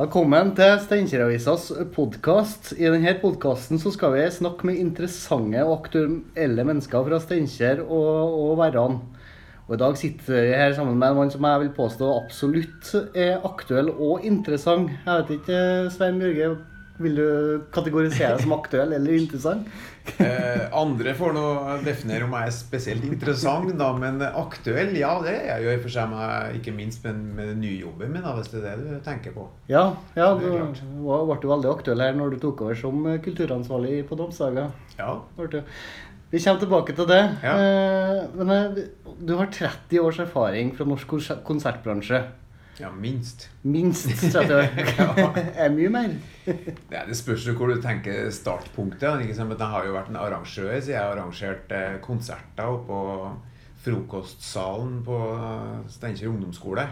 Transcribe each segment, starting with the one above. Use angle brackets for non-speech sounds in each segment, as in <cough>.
Velkommen til Steinkjer-avisas podkast. I denne podkasten skal vi snakke med interessante og aktuelle mennesker fra Steinkjer og, og Verran. Og I dag sitter vi her sammen med en mann som jeg vil påstå absolutt er aktuell og interessant. Jeg vet ikke, Svein Bjørge, vil du kategorisere deg som aktuell eller interessant? Eh, andre får nå definere om jeg er spesielt interessant, da, men aktuell, ja, det er jeg jo i og for seg, med, ikke minst med, med den nye jobben min, da, hvis det er det du tenker på. Ja, ja du Det er klart. var- ble jo veldig aktuell her når du tok over som eh, kulturansvarlig på Domsdaga. Ja. Artig. Vi kommer tilbake til det. Ja. Eh, Men eh, du har 30 års erfaring fra norsk konser- konsertbransje. ja, minst. Minst 30 år. <laughs> <laughs> Ja. er mye mer. Det, det spørs jo hvor du tenker startpunktet. da, Ikke sant? Men jeg har jo vært en arrangør, så jeg har arrangert eh, konserter oppå frokostsalen på eh, Steinkjer ungdomsskole.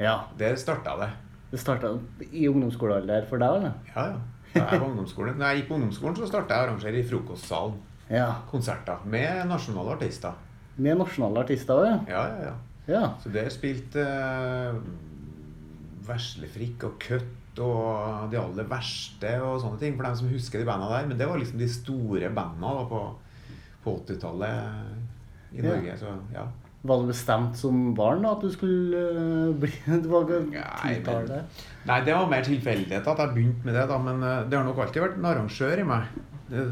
Ja. Der starta det. Det starta i ungdomsskolealder for deg, eller? Ja, ja. Da jeg, var ungdomsskolen. Når jeg gikk på ungdomsskolen, så starta jeg å arrangere i frokostsalen. Ja. Konserter med nasjonale artister. Med nasjonale artister òg, Ja, ja, ja. ja. ja. Så der spilte uh, Veslefrikk og Cut og de aller verste og sånne ting, for dem som husker de banda der. Men det var liksom de store banda da, på, på 80-tallet i Ja. Norge. Så ja. Var det bestemt som barn da, at du skulle eh, bli <laughs> Du var ikke Nei, men- tiltalt der? Nei, det var mer tilfeldighet at jeg begynte med det, da, men eh, det har nok alltid vært en arrangør i meg. Det,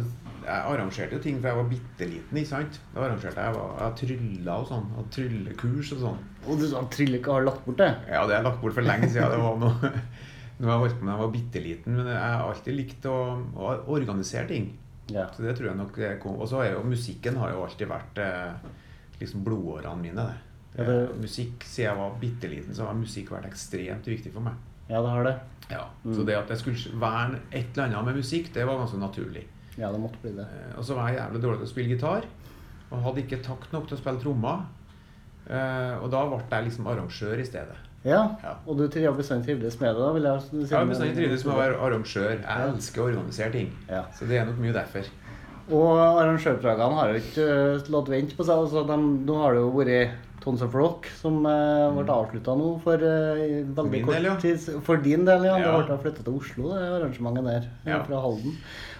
jeg arrangerte jo ting fra jeg var bitte liten, ikke sant. Da arrangerte jeg, jeg, var, jeg trylla og sånn. Og tryllekurs og sånn. Og du sa Trillika har lagt bort det? Ja, det har jeg lagt bort for lenge siden. Det var noe, <laughs> noe jeg holdt på med da jeg var bitte liten. Men jeg har alltid likt å, å organisere ting. Ja. Så det tror jeg nok det kom. Og så har jo musikken har jo alltid vært eh, liksom blodårene mine. Det. Ja, det- Eh, Musikk siden jeg var bitte liten, så har musikk vært ekstremt viktig for meg. ja, det har det. Ja. Mm. Så det at jeg skulle verne et eller annet med musikk, det var ganske naturlig. Ja, det måtte bli det. Eh, Og så var jeg jævlig dårlig til å spille gitar. Og hadde ikke takt nok til å spille trommer. Eh, Og da ble jeg liksom arrangør i stedet. Ja, Ja. Og du trives bestandig trivdes med det, da? vil jeg si. Jeg har bestandig trivdes med å være arrangør. Jeg elsker å organisere ting. Ja. Så det er nok mye derfor. Og arrangørpragene har jo ikke eh, latt vente på seg. altså de, Nå har det jo vært Tons of Rock, som eh, ble avslutta nå for eh, veldig min kort del, ja. tid s- For din del, ja. Ja. Det ble flytta til Oslo, det arrangementet der. eh, Ja. Fra Halden.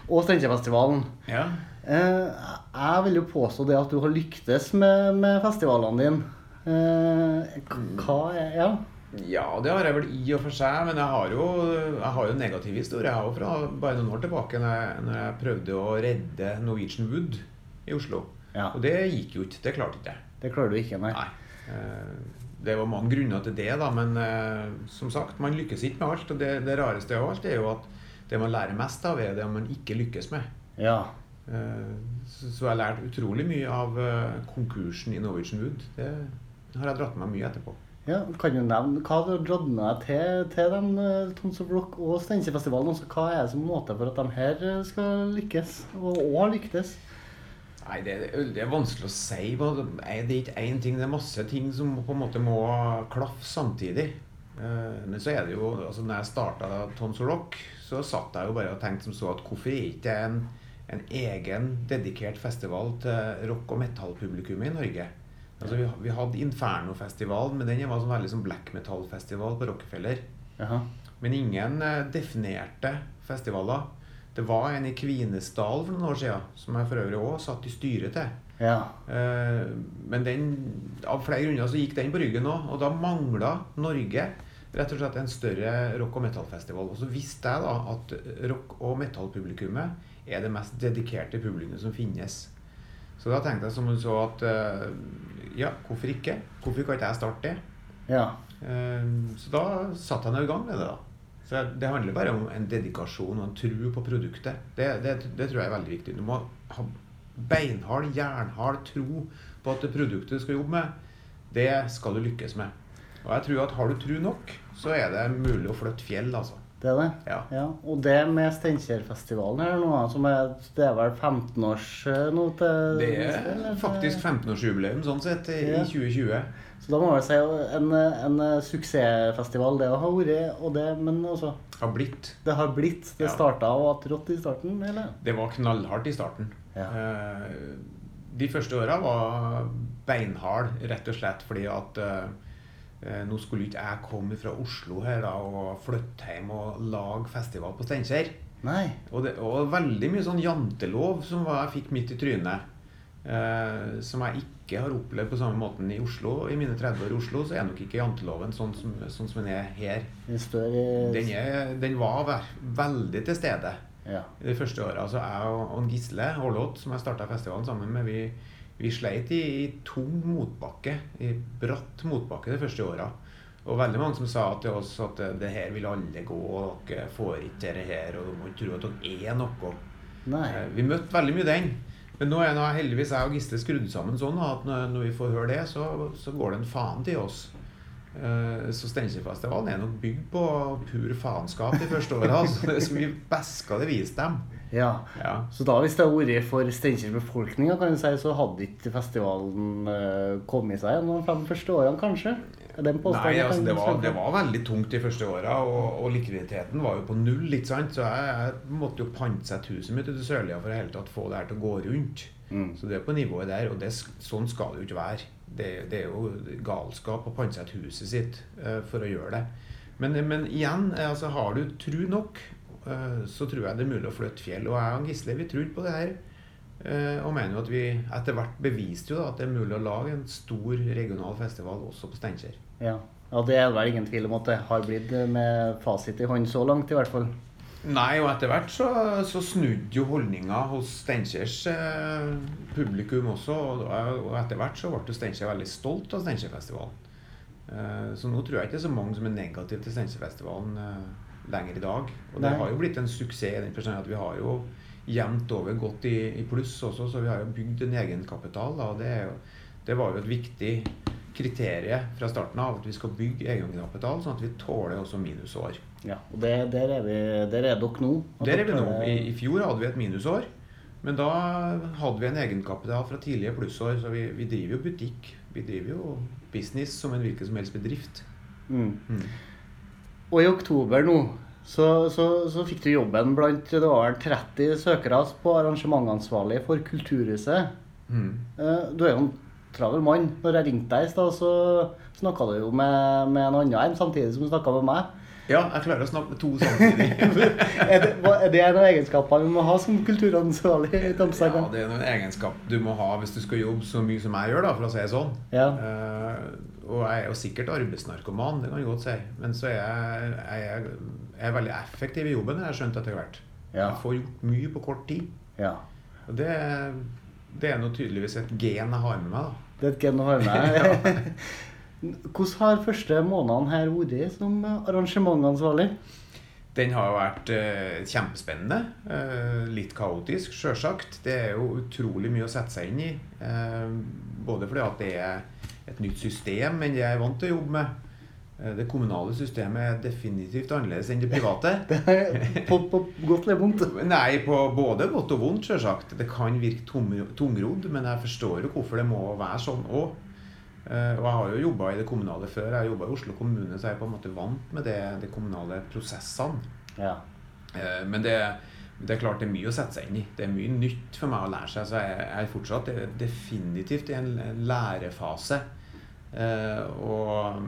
Og Steinkjerfestivalen. Ja. Eh, jeg vil jo påstå det at du har lyktes med, med festivalene dine. Eh, k- hva er Ja. ja, det har jeg vel i og for seg, men jeg har jo, jeg har jo en negativ historie. Jeg har jo fra bare noen år tilbake når jeg, når jeg prøvde å redde Norwegian Wood i Oslo. Ja. Og det gikk jo ikke. Det klarte ikke jeg. Det klarer du ikke, nei. Nei. Eh, Det var mange grunner til det, da, men eh, som sagt, man lykkes ikke med alt. Og det, det rareste av alt er jo at det man lærer mest av, er det man ikke lykkes med. Ja. Eh, Så så jeg har lært utrolig mye av eh, konkursen i Norwegian Wood. Det har jeg dratt med meg mye etterpå. Ja, kan du nevne, Hva har du dratt med deg til, til den eh, Tons of Rock og Steinkjerfestivalen? Altså, hva er det som må til for at de her eh, skal lykkes, og, og har lyktes? Nei, det, det er vanskelig å si. hva- nei, Det er ikke én ting, det er masse ting som på en måte må klaffe samtidig. Eh, Men så er det jo altså Når jeg starta Tons of Rock, så satt jeg jo bare og tenkte som så at hvorfor er ikke det en, en egen, dedikert festival til rock- og metallpublikummet i Norge? Altså Vi, vi hadde Inferno-festivalen, men den var sånn veldig sånn black metal-festival på Rockefeller. Jaha. Men ingen eh, definerte festivaler. Det var en i Kvinesdal for noen år siden, som jeg for øvrig òg satt i styret til. Ja. Eh, Men den, av flere grunner så gikk den på ryggen òg, og da mangla Norge rett og slett en større rock- og metal-festival. Og så visste jeg da at rock- og metal-publikummet er det mest dedikerte publikummet som finnes. Så da tenkte jeg som hun så at eh, ja, hvorfor ikke? Hvorfor kan ikke jeg starte det? ja. Eh, Så da satte han i gang med det. da. Så Det handler bare om en dedikasjon og en tro på produktet. Det, det, det tror jeg er veldig viktig. Du må ha beinhard, jernhard tro på at det produktet du skal jobbe med, det skal du lykkes med. Og jeg tror at har du tro nok, så er det mulig å flytte fjell, altså. Det er det. Ja. Og det med Steinkjerfestivalen her nå, da, som er, det er vel 15 års eh, nå til Det er faktisk 15-årsjubileum sånn sett i Ja. i 2020. Så da må jeg vel si en, en eh, suksessfestival det har vært, og det, men altså Har blitt. Det har blitt. Det Ja. starta og hatt rått i starten, eller? Det var knallhardt i starten. Ja. Eh, De første åra var beinhard, rett og slett fordi at eh, Eh, Nå skulle ikke jeg komme fra Oslo her da, og flytte hjem og lage festival på Steinkjer. Nei. Og, det, og veldig mye sånn jantelov som var, jeg fikk midt i trynet. Eh, som jeg ikke har opplevd på samme måten i Oslo. I mine 30 år i Oslo så er nok ikke janteloven sånn som, sånn som den er her. Den står i Den, er, den var ve- veldig til stede Ja. de første åra. Altså jeg og og en Gisle Aarlot, som jeg starta festivalen sammen med, vi, vi sleit i, i tung motbakke. I bratt motbakke de første åra. Og veldig mange som sa til oss at eh, det her vil alle gå, og dere får ikke dette her, og du må ikke tro at dere er noe. Nei. Eh, Vi møtte veldig mye den. Men nå er nå heldigvis jeg og Gisle skrudd sammen sånn at når, når vi får høre det, så, så går det en faen til oss. Eh, Så Steinkjerfestivalen er nok bygd på pur faenskap de første åra. Så det skal vi beska det vise dem. Ja. Ja. Så da, hvis det hadde vært for Steinkjer-befolkninga, kan du si, så hadde ikke festivalen eh, kommet seg gjennom de fem første årene, kanskje? Er det en påstand Nei, jeg altså, kan det, var, svelge? det var veldig tungt de første åra, og, og likviditeten var jo på null. ikke sant? Så jeg, jeg måtte jo pantsette huset mitt ute i Sørlia for å hele tatt få det her til å gå rundt. Mm. Så det er på nivået der, og det, sk- sånn skal det jo ikke være. Det, det er jo galskap å pantsette huset sitt eh, for å gjøre det. Men, men igjen, eh, altså, har du tru nok, eh, så tror jeg det er mulig å flytte fjell. Og jeg og Gisle vi tror på det her. eh, og mener jo at vi etter hvert beviste jo da at det er mulig å lage en stor regional festival også på Steinkjer. Ja. ja, det er vel ingen tvil om at det har blitt eh, med fasit i hånd så langt, i hvert fall. Nei, og etter hvert så, så snudde jo holdninga hos Steinkjers eh, publikum også. Og, og etter hvert så ble jo Steinkjer veldig stolt av Steinkjerfestivalen. Eh, så nå tror jeg ikke det er så mange som er negative til Steinkjerfestivalen eh, lenger i dag. Og det Nei. har jo blitt en suksess i den forstand at vi har jo jevnt over gått i, i pluss også, så vi har jo bygd en egenkapital. Da, og det, er jo, det var jo et viktig kriterium fra starten av at vi skal bygge egenkapital, sånn at vi tåler også minusår. Ja, og det, der, er vi, der er dere nå. At Der er vi dere nå. I, er- I fjor hadde vi et minusår. Men da hadde vi en egenkapital fra tidligere plussår, så vi, vi driver jo butikk. Vi driver jo business som en hvilken som helst bedrift. Mm. Mm. Og i oktober nå så, så, så fikk du jobben blant det var vel 30 søkere på arrangementansvarlig for Kulturhuset. Mm. Eh, Du er jo en travel mann. Når jeg ringte deg i stad, så snakka du jo med, med en annen enn samtidig som du snakka med <laughs> meg. Ja, jeg klarer å snakke med to samtidig. <laughs> Er det, hva- er det en av egenskapene vi må ha som kulturansvarlig? i Ja, Dampsaga? det er noen egenskap du må ha hvis du skal jobbe så mye som jeg gjør, da, for å si det sånn. Ja. Eh, og jeg er jo sikkert arbeidsnarkoman, det kan jeg godt si. Men så er jeg, jeg, er- jeg er veldig effektiv i jobben, har jeg skjønt etter hvert. Ja. Jeg får gjort mye på kort tid. ja. Og det, det er nå tydeligvis et gen jeg har med meg, da. Det er et gen å ha <laughs> med. Hvordan har første månedene her vært som arrangementansvarlig? Den har vært eh, kjempespennende. eh, litt kaotisk, sjølsagt. Det er jo utrolig mye å sette seg inn i. eh, både fordi at det er et nytt system enn det jeg er vant til å jobbe med. Eh, det kommunale systemet er definitivt annerledes enn det private. På, på godt eller vondt? Nei, på både godt og vondt, sjølsagt. Det kan virke tung- tungrodd, men jeg forstår jo hvorfor det må være sånn òg. Eh, Og jeg har jo jobba i det kommunale før. Jeg har jobba i Oslo kommune, så jeg er på en måte vant med det, de kommunale prosessene. Ja. Eh, Men det, det er klart det er mye å sette seg inn i. Det er mye nytt for meg å lære seg, så jeg jeg er fortsatt eh, definitivt i en en lærefase. Eh, Og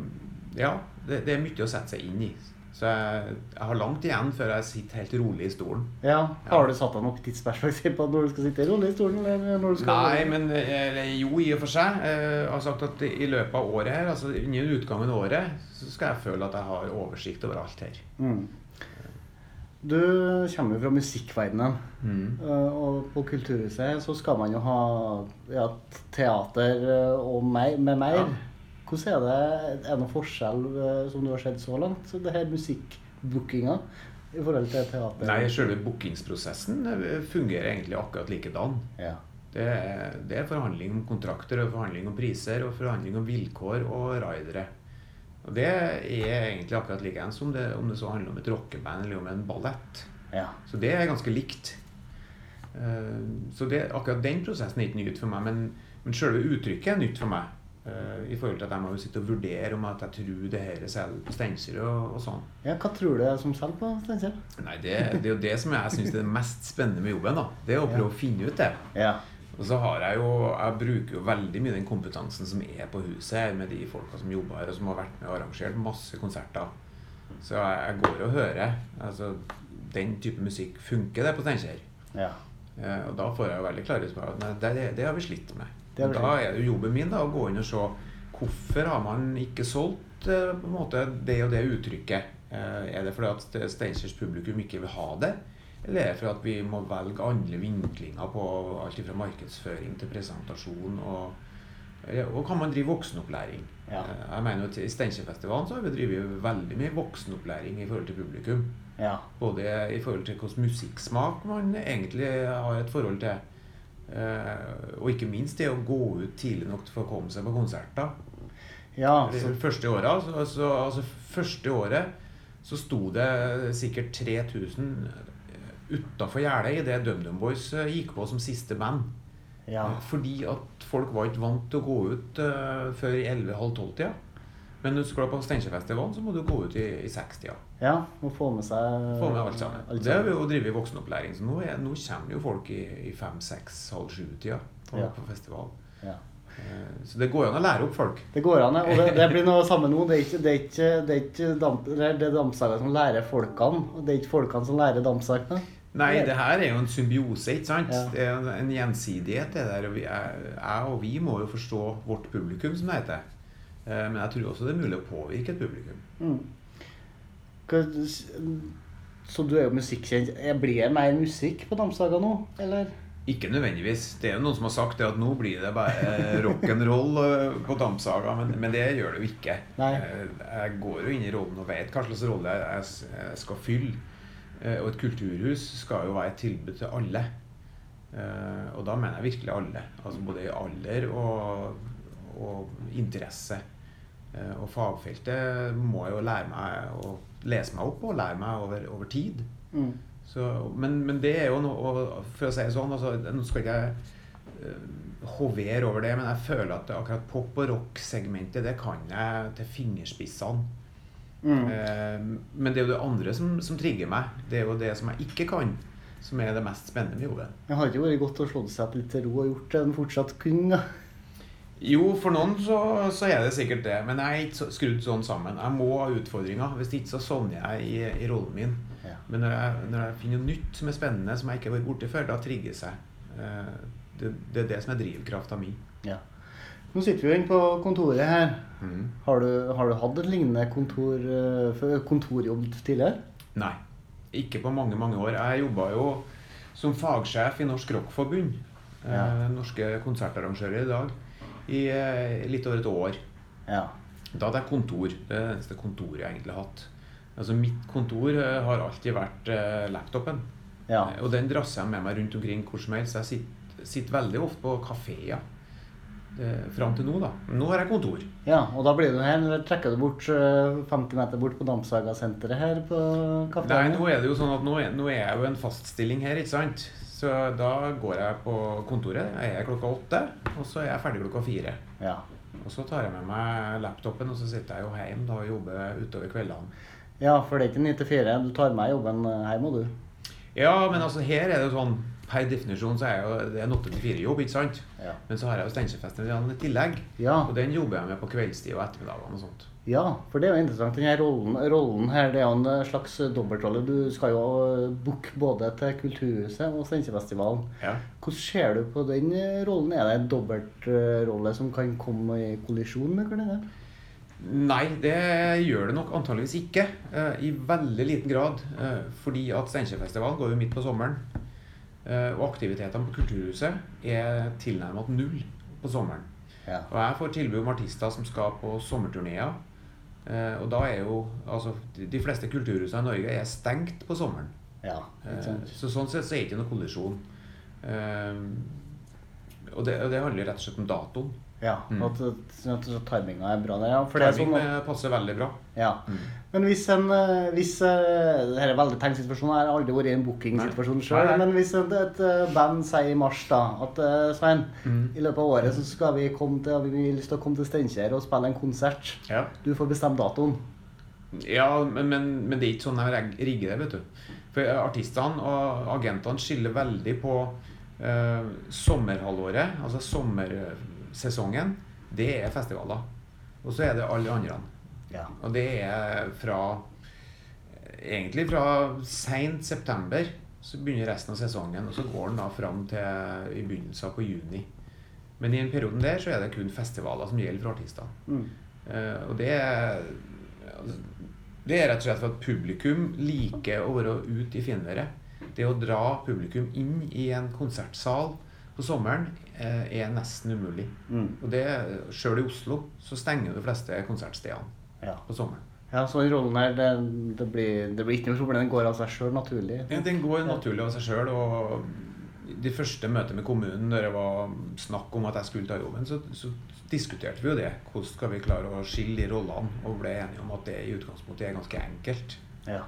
ja, det, det er mye å sette seg inn i. Så jeg, jeg har langt igjen før jeg sitter helt rolig i stolen. ja. Har du satt deg noe tidsperspektiv på når du skal sitte i rullestolen? Eller når du skal Nei, men eller, jo, i og for seg. Eh, Jeg har sagt at i løpet av året her, altså innen utgangen av året, så skal jeg føle at jeg har oversikt over alt her. Mm. Du kommer jo fra musikkverdenen. Mm. eh, Og på Kulturhuset så skal man jo ha ja, teater eh, og mer, med mer. Ja. Hvordan er det, er det noen forskjell eh, som du har sett så langt? Så det her musikkbookinga i forhold til teater? Nei, selve bookingsprosessen eh, fungerer egentlig akkurat likedan. Ja. Det er, det er forhandling om kontrakter, og forhandling om priser, og forhandling om vilkår og ridere. Og det er egentlig akkurat likedan som det, om det så handler om et rockeband eller om en ballett. ja. Så det er ganske likt. Eh, Så det, akkurat den prosessen er ikke nytt for meg, men, men selve uttrykket er nytt for meg. eh, I forhold til at jeg må jo sitte og vurdere om at jeg tror det her er selv på Steinkjer og, og sånn. ja. Hva tror du er som selger på Steinkjer? Nei, det, det er jo det som jeg syns er det mest spennende med jobben. da. Det er å prøve å finne ut det. Ja. Og så har jeg jo Jeg bruker jo veldig mye den kompetansen som er på huset her, med de folka som jobber her, og som har vært med og arrangert masse konserter. Så jeg, jeg går og hører. Altså, den type musikk funker det på Steinkjer. Ja. Eh, Og da får jeg jo veldig klare svar at nei, det, det, det har vi slitt med. Det har vi da er det jo jobben min da, å gå inn og se hvorfor har man ikke solgt eh, på en måte det og det uttrykket. Eh, Er det fordi at Steinkjers publikum ikke vil ha det? Eller er det fordi at vi må velge andre vinklinger på alt fra markedsføring til presentasjon? Og, eh, og kan man drive voksenopplæring? Ja. Eh, Jeg mener jo at I Steinkjerfestivalen så har vi drevet veldig mye voksenopplæring i forhold til publikum. ja. Både i forhold til hvilken musikksmak man egentlig har et forhold til. eh, og ikke minst det å gå ut tidlig nok for å komme seg på konserter. Ja, Det så, første året, altså, altså, altså første året så sto det sikkert 3000 utafor gjerdet idet DumDum Boys eh, gikk på som siste band. ja. Fordi at folk var ikke vant til å gå ut eh, før 11-12-tida. Men når du skal på Steinkjerfestivalen, så må du gå ut i, i 60-tida. ja. Må få med seg Få med alt sammen. Det har vi jo drevet i voksenopplæring, så nå, er, nå kommer jo folk i, i fem, seks, halv sju-tida på, Ja. på festival. Ja. Eh, Så det går jo an å lære opp folk. Det går an, ja. og det, det blir noe samme nå. Det er ikke, det er ikke, det er ikke damp, det er det dampsagene som lærer folkene, og det er ikke folkene som lærer dampsagene. Nei, det her er jo en symbiose, ikke sant? Ja. Det er en, en gjensidighet, det der. Og vi, er, jeg og vi må jo forstå vårt publikum, som det heter. Eh, Men jeg tror også det er mulig å påvirke et publikum. Mm. Hva- Så du er jo musikkjent. Jeg Blir det mer musikk på dampsaga nå, eller? Ikke nødvendigvis. Det er jo noen som har sagt det at nå blir det bare <laughs> rock'n'roll eh, på Dampsaga, men, men det gjør det jo ikke. Nei. Eh, Jeg går jo inn i rollen og vet hva slags rolle jeg- jeg s- jeg skal fylle. Eh, Og et kulturhus skal jo være et tilbud til alle. Eh, Og da mener jeg virkelig alle. Altså både i alder og, og interesse. Eh, Og fagfeltet må jeg jo lære meg å lese meg opp på og lære meg over, over tid. Mm. Så, men, men det er jo noe og For å si det sånn, altså, nå skal ikke jeg eh, hovere over det, men jeg føler at akkurat pop- og rock-segmentet, det kan jeg til fingerspissene. Mm. Eh, men det er jo det andre som, som trigger meg. Det er jo det som jeg ikke kan, som er det mest spennende med jobben. Det hadde jo vært godt å slå seg litt til ro og gjort en fortsatt kun, da. Jo, for noen så, så er det sikkert det, men jeg er ikke så- skrudd sånn sammen. Jeg må ha utfordringer, hvis ikke så sovner jeg i, i rollen min. Ja. Men når jeg, når jeg finner noe nytt som er spennende, som jeg ikke har vært borti før, da trigges jeg. Eh, Det, det er det som er drivkrafta mi. ja. Nå sitter vi jo inne på kontoret her. Mhm. Har du, har du hatt et lignende kontor, eh, før- kontorjobb tidligere? Nei. Ikke på mange, mange år. Jeg jobba jo som fagsjef i Norsk Rockforbund. eh, Ja. Norske konsertarrangører i dag. I eh, litt over et år. Ja. Da hadde jeg kontor. Det er det eneste kontoret jeg egentlig har hatt. Altså Mitt kontor eh, har alltid vært eh, laptopen. Ja. Eh, Og den drasser jeg med meg rundt omkring hvor som helst. Jeg sitter, sitter veldig ofte på kafeer. Eh, Fram til nå, da. Nå har jeg kontor. ja. Og da blir du her, eller trekker du bort eh, 50 meter bort på Dampsaga-senteret her på Nei, kafeen? nå er det jo sånn at nå er, nå er jeg jo en fast stilling her, ikke sant. Så da går jeg på kontoret. Jeg er klokka åtte, og så er jeg ferdig klokka fire. Ja. Og så tar jeg med meg laptopen, og så sitter jeg jo hjemme da, og jobber utover kveldene. ja, for det er ikke 9 til 4. Du tar med jobben eh, hjem, og du. Ja, men altså her er det jo sånn Per definisjon så er jo, det en åtte til fire-jobb, ikke sant. Ja. Men så har jeg jo Steinkjerfestivalen i tillegg. Ja. Og den jobber jeg med på kveldstid og ettermiddagene og sånt. ja, for det er jo interessant. Denne rollen, rollen her, det er jo en eh, slags dobbeltrolle. Du skal jo eh, booke både til Kulturhuset og Steinkjerfestivalen. Ja. Hvordan ser du på den eh, rollen? Er det en dobbeltrolle som kan komme i kollisjon med hverandre? Nei, det gjør det nok antageligvis ikke. eh, I veldig liten grad. eh, fordi at Steinkjerfestivalen går jo midt på sommeren. eh, og aktivitetene på Kulturhuset er tilnærmet null på sommeren. Ja. Og jeg får tilbud om artister som skal på sommerturneer. eh, og da er jo altså de- De fleste kulturhusene i Norge er stengt på sommeren. ja ikke Eh, sant? Så sånn sett så er det ikke noen kollisjon. Eh, og, det, og det handler rett og slett om datoen. Ja, Mm. at, at, at timinga er bra der. Ja, for det er Timing sånn at, eh, passer veldig bra. ja. Mm. Men hvis en eh, hvis, eh, Dette er en veldig tenkt situasjon. Jeg har aldri vært i en bookingsituasjon Nei. sjøl. Nei, nei. Men hvis et, et eh, band sier i mars da, at eh, Svein, Mm. i løpet av året så skal vi komme til, vi har lyst til å komme til Steinkjer og spille en konsert. Ja. Du får bestemme datoen. Ja, men, men, men det er ikke sånn jeg reg- rigger det, vet du. For eh, artistene og agentene skiller veldig på Eh, sommerhalvåret, altså sommersesongen, det er festivaler. Og så er det alle andre. Ja. Og det er fra Egentlig fra seint september så begynner resten av sesongen, og så går den da fram til i begynnelsen på juni. Men i den perioden der så er det kun festivaler som gjelder for artister. Mm. Eh, og det er altså, Det er rett og slett for at publikum liker å være ute i finværet. Det å dra publikum inn i en konsertsal på sommeren eh, er nesten umulig. Mm. Og det, Sjøl i Oslo så stenger de fleste konsertstedene Ja. på sommeren. ja, så den rollen her, det, det, blir, det blir ikke noe problem. Den går av seg sjøl, naturlig. Den, den går naturlig av seg sjøl. Og det første møtet med kommunen, når det var snakk om at jeg skulle ta jobben, så, så diskuterte vi jo det. Hvordan skal vi klare å skille de rollene? Og ble enige om at det i utgangspunktet er ganske enkelt. Ja.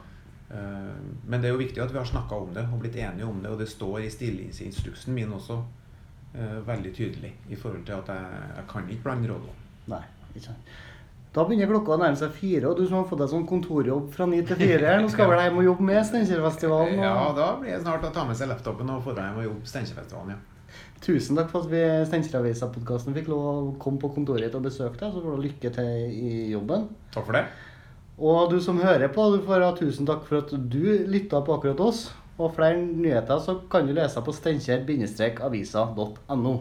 Eh, Men det er jo viktig at vi har snakka om det og blitt enige om det, og det står i stillingsinstruksen min også eh, veldig tydelig i forhold til at jeg, jeg kan ikke blande rollene. Nei, ikke sant. Da begynner klokka å nærme seg fire, og du som har fått deg sånn kontorjobb fra ni til fire her, nå skal vel deg hjem og jobbe med Steinkjerfestivalen. og- Ja, da blir det snart å ta med seg laptopen og få deg hjem og jobbe Steinkjerfestivalen, ja. Tusen takk for at vi Steinkjeravisa-podkasten fikk lov å komme på kontoret ditt og besøke deg. Så får du lykke til i jobben. Takk for det. Og du som hører på, du får ha tusen takk for at du lytta på akkurat oss. Og flere nyheter så kan du lese på steinkjer-avisa.no.